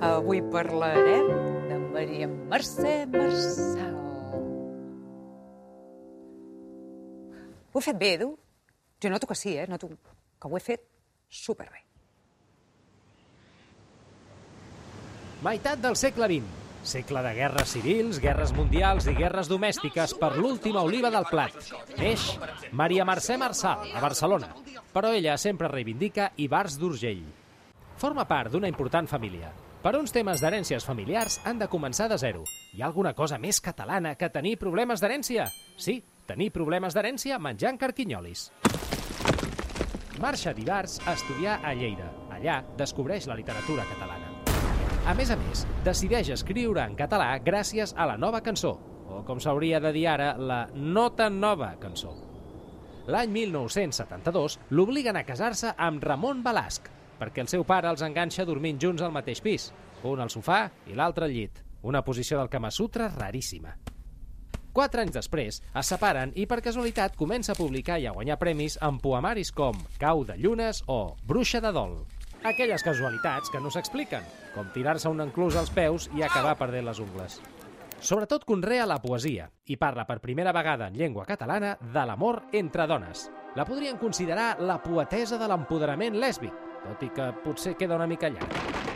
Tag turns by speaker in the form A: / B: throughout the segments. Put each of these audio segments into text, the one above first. A: Avui parlarem de Maria Mercè Marçal. Ho he fet bé, Edu? Jo noto que sí, eh? Noto que ho he fet superbé.
B: Meitat del segle XX. Segle de guerres civils, guerres mundials i guerres domèstiques per l'última oliva del plat. Neix Maria Mercè Marçal, a Barcelona, però ella sempre reivindica Ibars d'Urgell. Forma part d'una important família. Per uns temes d'herències familiars han de començar de zero. Hi ha alguna cosa més catalana que tenir problemes d'herència? Sí, tenir problemes d'herència menjant carquinyolis. Marxa d'Ibars a estudiar a Lleida. Allà descobreix la literatura catalana. A més a més, decideix escriure en català gràcies a la nova cançó, o com s'hauria de dir ara, la no tan nova cançó. L'any 1972 l'obliguen a casar-se amb Ramon Balasc, perquè el seu pare els enganxa dormint junts al mateix pis, un al sofà i l'altre al llit, una posició del Kama Sutra raríssima. Quatre anys després, es separen i per casualitat comença a publicar i a guanyar premis amb poemaris com Cau de llunes o Bruixa de dol. Aquelles casualitats que no s'expliquen, com tirar-se un enclús als peus i acabar perdent les ungles. Sobretot conrea la poesia i parla per primera vegada en llengua catalana de l'amor entre dones. La podrien considerar la poetesa de l'empoderament lèsbic, tot i que potser queda una mica llarg.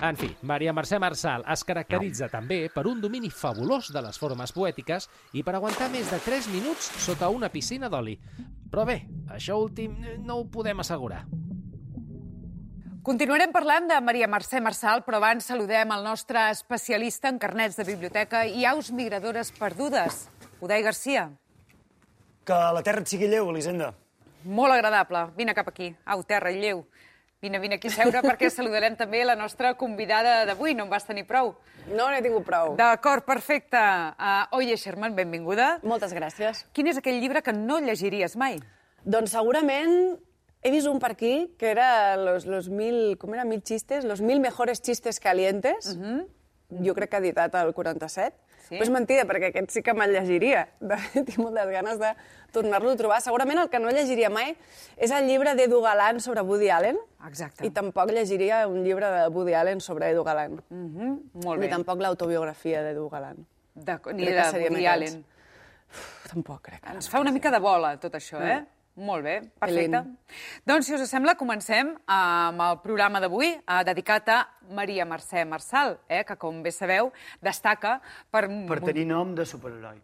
B: En fi, Maria Mercè Marçal es caracteritza també per un domini fabulós de les formes poètiques i per aguantar més de 3 minuts sota una piscina d'oli. Però bé, això últim eh, no ho podem assegurar.
A: Continuarem parlant de Maria Mercè Marçal, però abans saludem el nostre especialista en carnets de biblioteca i aus migradores perdudes, Udai Garcia.
C: Que la terra et sigui lleu, Elisenda.
A: Molt agradable. Vine cap aquí. Au, terra, i lleu. Vine, vine aquí a seure perquè saludarem també la nostra convidada d'avui. No en vas tenir prou.
D: No n'he tingut prou.
A: D'acord, perfecte. Uh, Oye Sherman, benvinguda.
D: Moltes gràcies.
A: Quin és aquell llibre que no llegiries mai?
D: Doncs segurament he vist un per aquí que era los, los mil... Com era? Mil xistes? Los mil mejores chistes calientes. Jo crec que ha editat el 47.
A: Sí.
D: Sí. Però és mentida, perquè aquest sí que me'l llegiria. De fet, tinc moltes ganes de tornar-lo a trobar. Segurament el que no llegiria mai és el llibre d'Edu Galán sobre Woody Allen.
A: Exacte.
D: I tampoc llegiria un llibre de Woody Allen sobre Edu Galán.
A: Mm -hmm. Molt
D: Ni
A: bé.
D: tampoc l'autobiografia d'Edu Galán.
A: D'acord, Ni
D: Crec
A: de
D: que serien
A: Woody
D: aquests.
A: Allen.
D: Uf, tampoc, crec. que no.
A: Ens fa una mica de bola, tot això,
D: Mm.
A: eh? Molt bé, perfecte.
D: Elin.
A: Doncs, si us sembla, comencem ah, amb el programa d'avui eh, dedicat a Maria Mercè Marçal, eh, que, com bé sabeu, destaca per...
C: Per tenir nom de superheroi.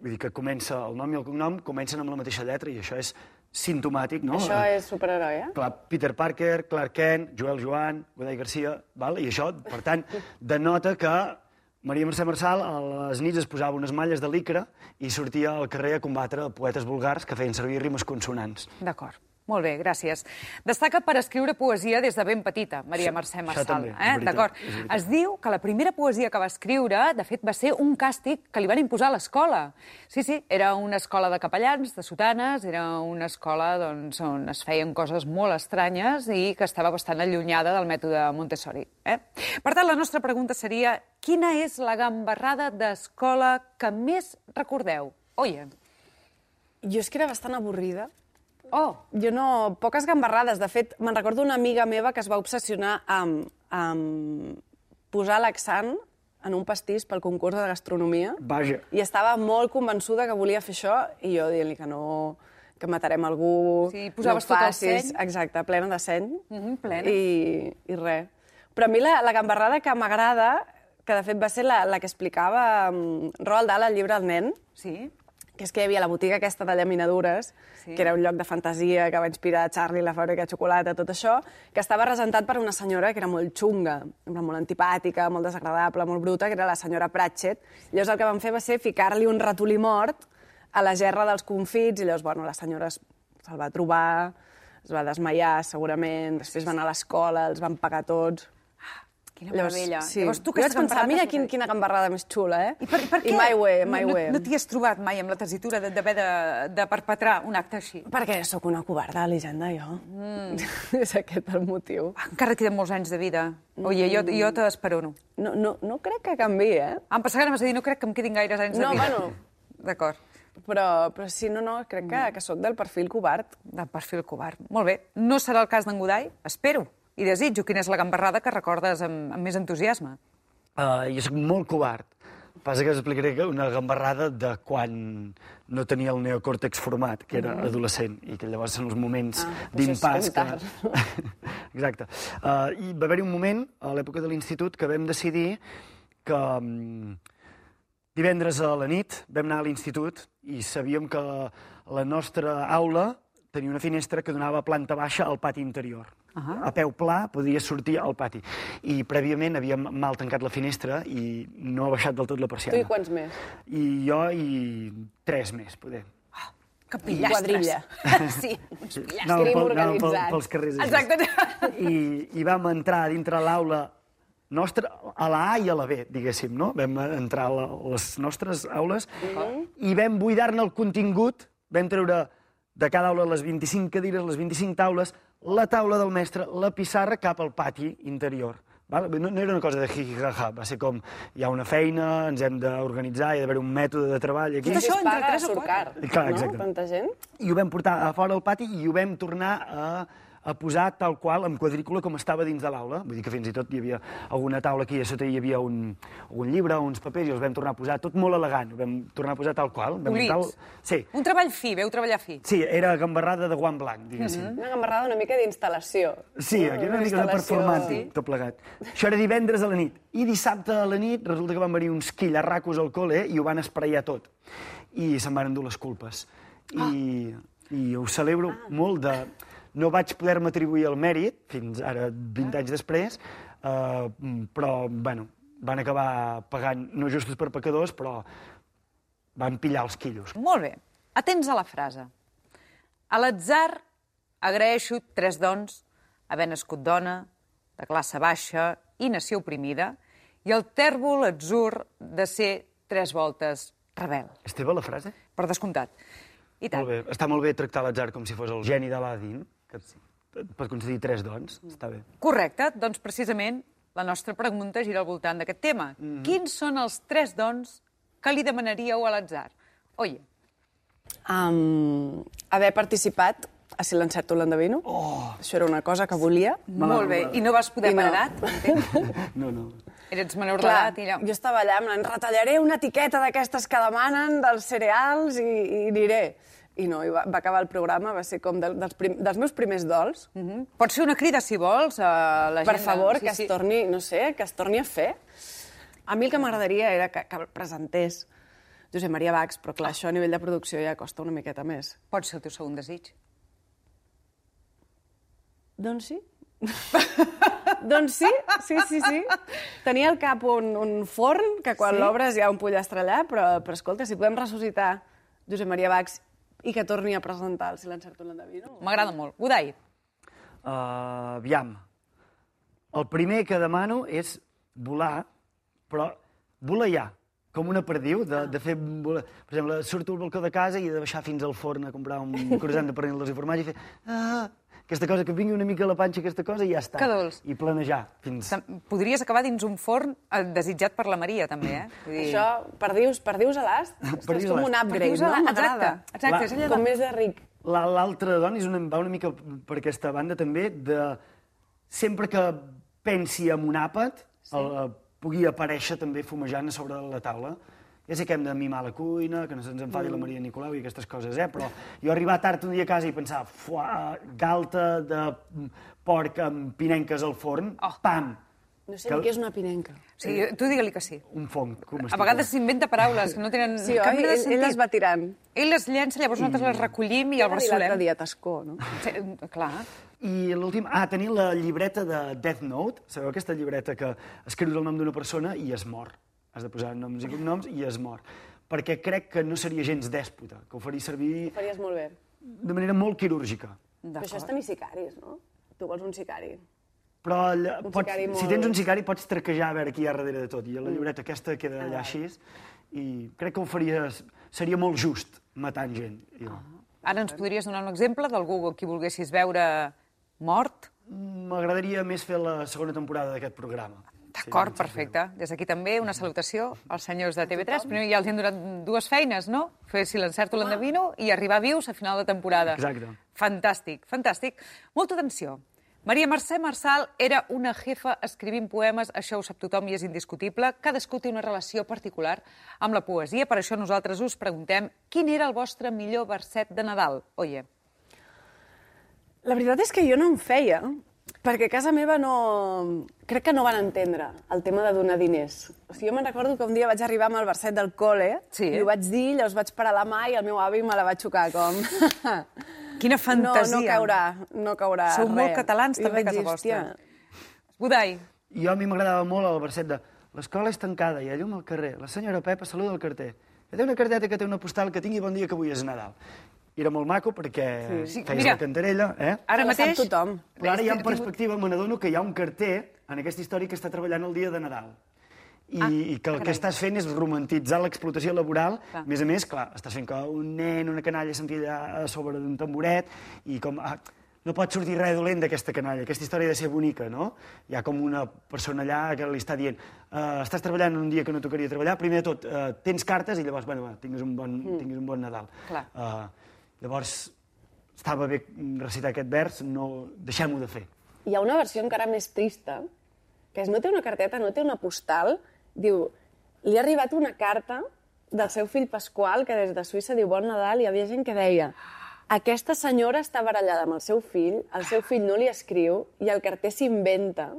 C: Vull dir que comença, el nom i el cognom comencen amb la mateixa lletra i això és sintomàtic, no?
D: Això és superheroi, eh?
C: Clar, Peter Parker, Clark Kent, Joel Joan, Godoy Garcia, val? i això, per tant, denota que Maria Mercè Marçal a les nits es posava unes malles de licra i sortia al carrer a combatre poetes vulgars que feien servir rimes consonants.
A: D'acord. Molt bé, gràcies. Destaca per escriure poesia des de ben petita, Maria
C: Sí,
A: Mercè
C: això
A: Marçal.
C: també, és veritat,
A: D'acord.
C: és veritat.
A: Es diu que la primera poesia que va escriure, de fet, va ser un càstig que li van imposar a l'escola. Sí, sí, era una escola de capellans, de sotanes, era una escola doncs, on es feien coses molt estranyes i que estava bastant allunyada del mètode Montessori. Eh? Per tant, la nostra pregunta seria quina és la gambarrada d'escola que més recordeu? Oye,
D: Jo és que era bastant avorrida.
A: oh,
D: Jo no... Poques gambarrades. De fet, me'n recordo una amiga meva que es va obsessionar amb, amb posar laxant en un pastís pel concurs de gastronomia
C: Vaja.
D: i estava molt convençuda que volia fer això i jo dient-li que no, que matarem algú,
A: Sí,
D: no ho
A: posaves tot el
D: facis...
A: seny.
D: Exacte, plena de seny.
A: Mhm, plena.
D: I, I res. Però a mi la, la gambarrada que m'agrada, que de fet va ser la, la que explicava mm, Roald Dahl al llibre El nen,
A: sí,
D: que és que hi havia la botiga aquesta de llaminadures,
A: Sí.
D: sí. que era un lloc de fantasia que va inspirar Charlie, la fàbrica de xocolata, tot això, que estava representat per una senyora que era molt xunga, en plan, molt antipàtica, molt desagradable, molt bruta, que era la senyora Pratchett. Llavors el que van fer va ser ficar-li un ratolí mort a la gerra dels confits, i llavors, bueno, la senyora es- se'l va trobar, es va desmaiar, segurament, després va anar a l'escola, els van pagar tots...
A: Quina Llavors, meravella.
D: sí.
A: Llavors, tu
D: jo
A: que
D: vaig pensar, mira quin, quina gambarrada més xula, eh?
A: I per, per què
D: I my way, my
A: no,
D: way.
A: no, no t'hi has trobat mai amb la tessitura de- d'haver de, de, perpetrar un acte així?
D: Perquè sóc una covarda, Elisenda, jo. Mm. és aquest el motiu.
A: Ah, Encara queden molts anys de vida. Oye, jo, jo t'esperono.
D: No, no, no crec que canvi, eh?
A: Em passa que anaves a dir, no crec que em quedin gaires anys
D: No,
A: de vida.
D: bueno.
A: D'acord.
D: Però, però sí, no, no, crec que, que sóc del perfil covard.
A: De perfil covard. Molt bé. No serà el cas d'en Godai? Espero. i desitjo. Quina és la gambarrada que recordes amb, amb més entusiasme?
C: Uh, jo sóc molt covard. Passa que us explicaré que una gambarrada de quan no tenia el neocòrtex format, que era adolescent, i que llavors són els moments ah,
D: Mm. doncs és
C: d'impàs.
D: tard.
C: Exacte. Uh, I va haver-hi un moment, a l'època de l'institut, que vam decidir que um, divendres a la nit vam anar a l'institut i sabíem que la nostra aula tenia una finestra que donava a planta baixa al pati interior. Uh -huh. A peu pla podia sortir al pati. I prèviament havíem mal tancat la finestra i no ha baixat del tot la
D: Tu i
C: persiana.
D: quants més?
C: I jo i tres més, poder.
A: Que
D: Quadrilla.
A: sí, uns pillastres.
C: Doncs Anàvem pel-
D: crim
C: anàvem pel-
D: organitzat.
C: pels carrers. així.
A: Exacte.
C: i, i vam entrar dintre l'aula nostra, a la A i a la B, diguéssim, no? Vam entrar a la, les nostres aules i vam buidar-ne el contingut, vam treure de cada aula les 25 cadires, les 25 taules, la taula del mestre, la pissarra cap al pati interior. Val? No, no era una cosa de hi-hi-ha-ha, va ser com hi ha una feina, ens hem d'organitzar, hi ha d'haver un mètode de treball aquí.
A: Tot això
D: Si es
A: entre
D: paga,
A: tres o
D: surt
A: quatre.
D: car,
C: Clar,
D: no?
C: exacte.
D: Tanta gent.
C: i ho vam portar a fora al pati i ho vam tornar a, a posar tal qual, amb quadrícula, com estava dins de l'aula. Vull dir que fins i tot hi havia alguna taula aquí, a sota hi havia un, un llibre, uns papers, i els vam tornar a posar tot molt elegant. Ho vam tornar a posar tal qual. Vam
A: Polits.
C: muntar el- Sí,
A: Un treball fi, veu treballar fi.
C: sí, era gambarrada de guant blanc, diguéssim.
D: Una gambarrada una mica d'instal·lació.
C: Sí, aquí era una mica de
D: Eh, instal·lació,
C: performàntic,
D: sí.
C: tot plegat. Això era divendres a la nit. I dissabte a la nit resulta que van venir uns quillarracos al col·le i ho van espraiar tot. I se'n van endur les culpes. I,
D: Ah.
C: i ho celebro molt de... No vaig poder-me atribuir el mèrit, fins ara
D: Ah.
C: 20 anys després, eh, però, bueno, van acabar pagant, no justos per pecadors, però van pillar els quillos.
A: Molt bé. Atents a la frase. A l'atzar agraeixo tres dons, haver nascut dona, de classe baixa i nació oprimida, i el tèrbol atzur de ser tres voltes rebel.
C: Esteve, la frase?
A: Per descomptat. I tant.
C: Molt bé. Està molt bé tractar l'atzar com si fos el geni d'Aladin, que et, et pot concedir tres dons. Està bé.
A: Correcte, doncs precisament la nostra pregunta gira al voltant d'aquest tema. Mm
C: Mhm.
A: -hmm. Quins són els tres dons que li demanaríeu a l'atzar? Oye,
D: Um, haver participat a Si l'encerto l'endevino. Oh. Això era una cosa que volia.
A: molt bé, i no vas poder
D: I
A: per
D: no.
A: edat? entenc?
C: No, no.
A: Eres menor d'edat i allò.
D: jo estava allà, em en retallaré una etiqueta d'aquestes que demanen dels cereals i, i aniré. I no, i va, va acabar el programa, va ser com del, dels, prim, dels meus primers dols.
A: Mm -hmm. Pots fer una crida, si vols, a la gent...
D: Per favor,
A: sí,
D: que
A: sí.
D: es torni, no sé, que es torni a fer. A mi el que m'agradaria era que, que presentés Josep Maria Bax, però
A: Ah.
D: clar, això a nivell de producció ja costa una miqueta més.
A: Pot ser el teu segon desig.
D: Doncs sí. doncs sí, sí, sí, sí. Tenia al cap un, un forn, que quan
A: Sí?
D: sí? l'obres hi ha un pollastre allà, però, però escolta, si podem ressuscitar Josep Maria Bax i que torni a presentar el Si l'encerto l'endevino...
A: M'agrada molt. Godai,
C: Uh, aviam. El primer que demano és volar, però voleiar, com una perdiu, de, de fer... Volar. Per exemple, surto al balcó de casa i he de baixar fins al forn a comprar un croissant de pernil dos i formatge i fer... Ah, aquesta cosa, que vingui una mica a la panxa aquesta cosa i ja està.
A: Que dolç.
C: I planejar fins...
A: tam- podries acabar dins un forn eh, desitjat per la Maria, també, eh? Vull dir,
D: Això, perdius, Ah, perdius a l'ast, ostres,
C: Perdius
D: és
C: a
D: com
C: l'ast.
D: un upgrade,
A: Perdius a
D: no?
A: l'ast,
D: M'agrada.
A: exacte, exacte,
C: és allò de-
D: Com més de ric.
C: La- L'altra, doncs, és una, va una mica per aquesta banda també, de sempre que pensi en un àpat, sí. el, pugui aparèixer també fumejant a sobre de la taula. Ja sé que hem de mimar la cuina, que no se'ns enfadi mm. la Maria Nicolau i aquestes coses, eh? però jo arribar tard un dia a casa i pensar, fuà, galta de porc amb pinenques al forn, oh. pam,
D: No sé ni
C: Que-
D: què és una pinenca.
A: Sí, tu digue-li que sí.
C: un fong
A: A
C: comestible.
A: vegades s'inventa paraules que no tenen
D: Sí,
A: cap
D: oi?
A: mena de
D: Ell,
A: sentit.
D: ell les va tirant.
A: Ell les llença, llavors nosaltres les recollim i el
D: L'altre
A: bressolem.
D: dia, Tascó, no?
A: Sí, clar.
C: I l'últim, ah, tenir la llibreta de Death Note. Sabeu aquesta llibreta que escrius el nom d'una persona i es mor. Has de posar noms i cognoms i es mor. Perquè crec que no seria gens dèspota, que ho faria servir
D: Ho faries molt bé.
C: de manera molt quirúrgica.
D: Però això és tenir sicaris, no? Tu vols un sicari.
C: Però allà,
D: Un
C: pots,
D: sicari
C: si
D: molt- Mm.
C: tens un sicari pots traquejar a veure qui hi ha darrere de tot. I la llibreta aquesta queda allà així. I crec que ho faries... Seria molt just matant gent. Jo.
D: Ah.
A: Ara ens podries donar un exemple d'algú a qui volguessis veure mort?
C: M'agradaria més fer la segona temporada d'aquest programa.
A: D'acord, perfecte. Des d'aquí també una salutació als senyors de TV3. Primer ja els hem donat dues feines, no? Fer si l'encerto l'endevino i arribar vius a final de temporada.
C: Exacte.
A: Fantàstic, fantàstic. Molta atenció, Maria Mercè Marçal era una jefa escrivint poemes, això ho sap tothom i és indiscutible. Cadascú té una relació particular amb la poesia, per això nosaltres us preguntem quin era el vostre millor verset de Nadal, oye.
D: La veritat és que jo no en feia, perquè a casa meva no... Crec que no van entendre el tema de donar diners. O sigui, jo me'n recordo que un dia vaig arribar amb el verset del col·le
A: Sí.
D: i ho vaig dir, llavors vaig parar la mà i el meu avi me la va xocar, com...
A: Quina
D: no,
A: fantasia.
D: no caurà, no caurà
A: Sou
D: res.
A: molt catalans,
D: I
A: també, a
D: vaig
A: casa
D: dir, "Hòstia,
A: vostra. Budai,
C: I a mi m'agradava molt el verset de l'escola és tancada, hi ha llum al carrer, la senyora Pepa saluda el carter. Que té una carteta que té una postal que tingui bon dia que avui és Nadal. I Era molt maco perquè
A: Sí,
C: sí. feies
A: mira.
C: la cantarella, eh?
A: ara
D: Se la sap
A: mateix...
D: tothom.
C: Però ara ja en perspectiva me n'adono que hi ha un carter en aquesta història que està treballant el dia de Nadal. I, ah, i que el
A: carai.
C: que estàs fent és romantitzar l'explotació laboral.
A: Clar.
C: A més a més, clar, estàs fent que un nen, una canalla, senti allà a sobre d'un tamboret i com... Ah, no pot sortir res dolent d'aquesta canalla, aquesta història ha de ser bonica, no? Hi ha com una persona allà que li està dient uh, estàs treballant un dia que no tocaria treballar, primer de tot, uh, tens cartes i llavors, bueno, va, tinguis un bon, mm. tinguis un bon Nadal.
A: Hmm. Clar.
C: Uh, llavors, estava bé recitar aquest vers, no... deixem-ho de fer.
D: hi ha una versió encara més trista, que és no té una carteta, no té una postal, diu, li ha arribat una carta del seu fill Pasqual, que des de Suïssa diu Bon Nadal, i hi havia gent que deia aquesta senyora està barallada amb el seu fill, el seu fill no li escriu, i el carter s'inventa,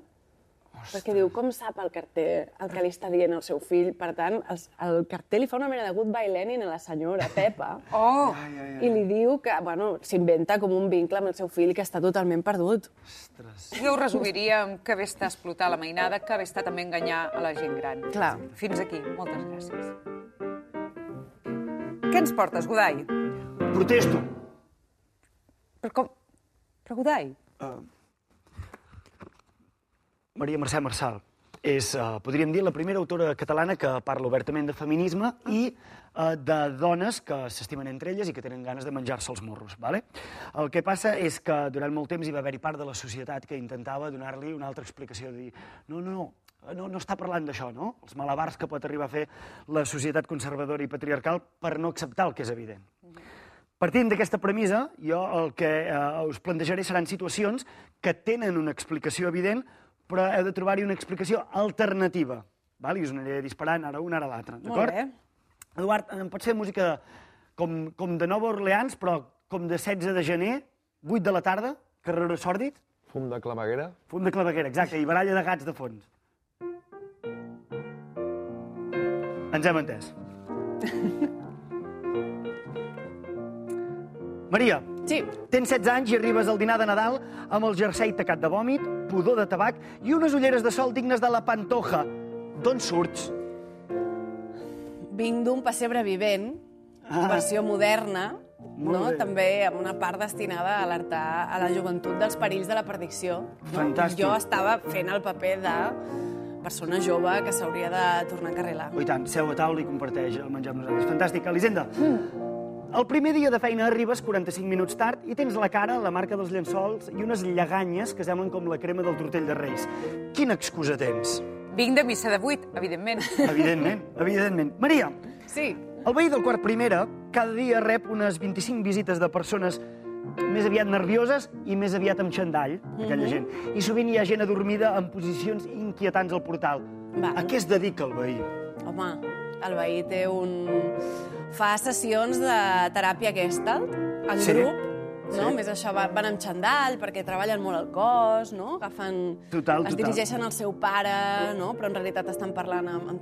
D: perquè diu, com sap el carter el que li està dient al seu fill? Per tant, el, el carter li fa una mena de goodbye Lenin a la senyora Pepa.
A: Oh,
D: I li diu que, bueno, s'inventa com un vincle amb el seu fill que està totalment perdut.
A: jo ho resumiria amb que bé està explotar la mainada, que bé està també enganyar a la gent gran.
D: Clar.
A: Fins aquí, moltes gràcies. Què ens portes, Godai?
C: Protesto.
A: Però com... Però Godai,
C: Maria Mercè Marçal és, eh, podríem dir, la primera autora catalana que parla obertament de feminisme i eh, de dones que s'estimen entre elles i que tenen ganes de menjar-se els morros. Vale? El que passa és que durant molt temps hi va haver-hi part de la societat que intentava donar-li una altra explicació, de dir, no, no, no, no, no està parlant d'això, no? Els malabars que pot arribar a fer la societat conservadora i patriarcal per no acceptar el que és evident. Partint d'aquesta premissa, jo el que eh, us plantejaré seran situacions que tenen una explicació evident, però heu de trobar-hi una explicació alternativa. Val? I us aniré disparant ara una, ara l'altra. D'acord?
D: bé.
C: Eduard, em pot ser música com, com de Nova Orleans, però com de 16 de gener, 8 de la tarda, carreró sòrdid?
E: Fum de claveguera?
C: Fum de claveguera, exacte, i baralla de gats de fons. Ens hem entès. Maria,
D: Sí,
C: tens 16 anys i arribes al dinar de Nadal amb el jersei tacat de vòmit, pudor de tabac i unes ulleres de sol dignes de la Pantoja. D'on surts?
D: vinc d'un pessebre vivent,
C: Ah.
D: versió moderna,
C: Molt
D: no?
C: bé.
D: també amb una part destinada a alertar a la joventut dels perills de la perdició. No?
C: Fantàstic.
D: Jo estava fent el paper de persona jove que s'hauria de tornar a carrilar.
C: Oh, i tant, seu a taula i comparteix el menjar amb nosaltres. Fantàstic, Elisenda. Mm. El primer dia de feina arribes 45 minuts tard i tens a la cara, la marca dels llençols i unes lleganyes que semblen com la crema del tortell de Reis. Quina excusa tens?
A: vinc de missa de vuit, evidentment.
C: Evidentment, evidentment. Maria,
D: Sí,
C: el veí del quart primera cada dia rep unes 25 visites de persones més aviat nervioses i més aviat amb xandall, aquella gent. I sovint hi ha gent adormida en posicions inquietants al portal.
D: Val.
C: A què es dedica el veí?
D: home, el veí té un... Fa sessions de teràpia aquesta, en
C: Sí.
D: grup, no? Més això, va- van amb xandall, perquè treballen molt el cos, no? Agafen...
C: Total,
D: es
C: total.
D: dirigeixen al seu pare, no? Però en realitat estan parlant amb, amb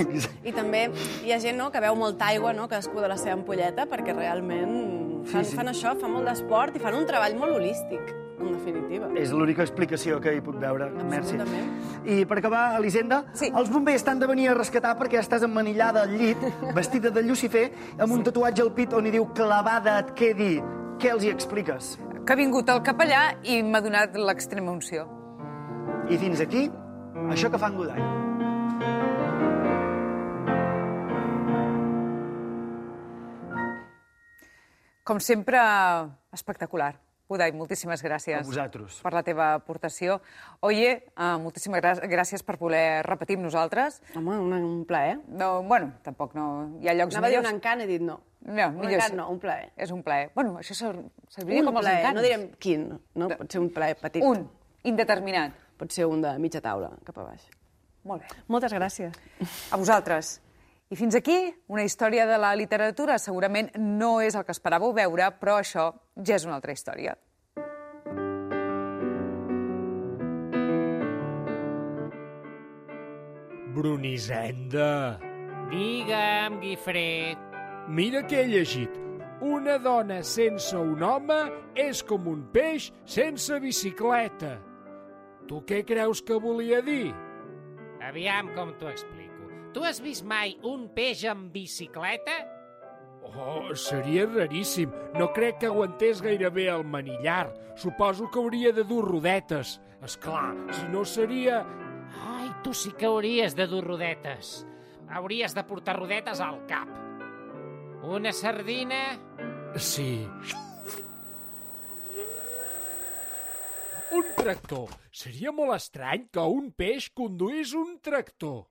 C: Exacte.
D: I també hi ha gent no, que veu molta aigua, no? Cadascú de la seva ampolleta, perquè realment fan,
C: sí.
D: fan això, fan molt d'esport i fan un treball molt holístic, en definitiva.
C: És l'única explicació que hi puc veure. Merci.
D: Absolutament.
C: I per acabar, Elisenda,
A: Sí.
C: els bombers t'han de venir a rescatar perquè estàs emmanillada al llit, vestida de Lucifer, amb un tatuatge al pit on hi diu clavada et quedi. Què els hi expliques?
A: Que ha vingut el capellà i m'ha donat l'extrema unció.
C: I fins aquí, això que fan Godall.
A: Com sempre, espectacular. Budai, moltíssimes gràcies.
C: A vosaltres.
A: Per la teva aportació. Oye, uh, moltíssimes grà- gràcies per voler repetir amb nosaltres.
D: Home, un, un plaer.
A: No, bueno, tampoc no... Hi ha llocs
D: Anava a dir
A: millors.
D: un encant, he dit no.
A: No,
D: Un
A: millor
D: encant
A: sí.
D: no, un plaer.
A: És un plaer. Bueno, això ser, serviria
D: Un
A: com els
D: plaer,
A: encants.
D: no direm quin, no? Pot ser un plaer petit.
A: Un, indeterminat.
D: Pot ser un de mitja taula, cap a baix.
A: Molt bé.
D: Moltes gràcies.
A: A vosaltres. I fins aquí, una història de la literatura. Segurament no és el que esperàveu veure, però això ja és una altra història.
B: Brunisenda.
E: Digue'm, Guifré.
B: Mira què he llegit. Una dona sense un home és com un peix sense bicicleta. Tu què creus que volia dir?
E: Aviam com t'ho explico. Tu has vist mai un peix amb bicicleta?
B: Oh, seria raríssim. No crec que aguantés gaire bé el manillar. Suposo que hauria de dur rodetes. És clar, si no seria...
E: Ai, tu sí que hauries de dur rodetes. Hauries de portar rodetes al cap. Una sardina?
B: Sí. Un tractor. Seria molt estrany que un peix conduís un tractor.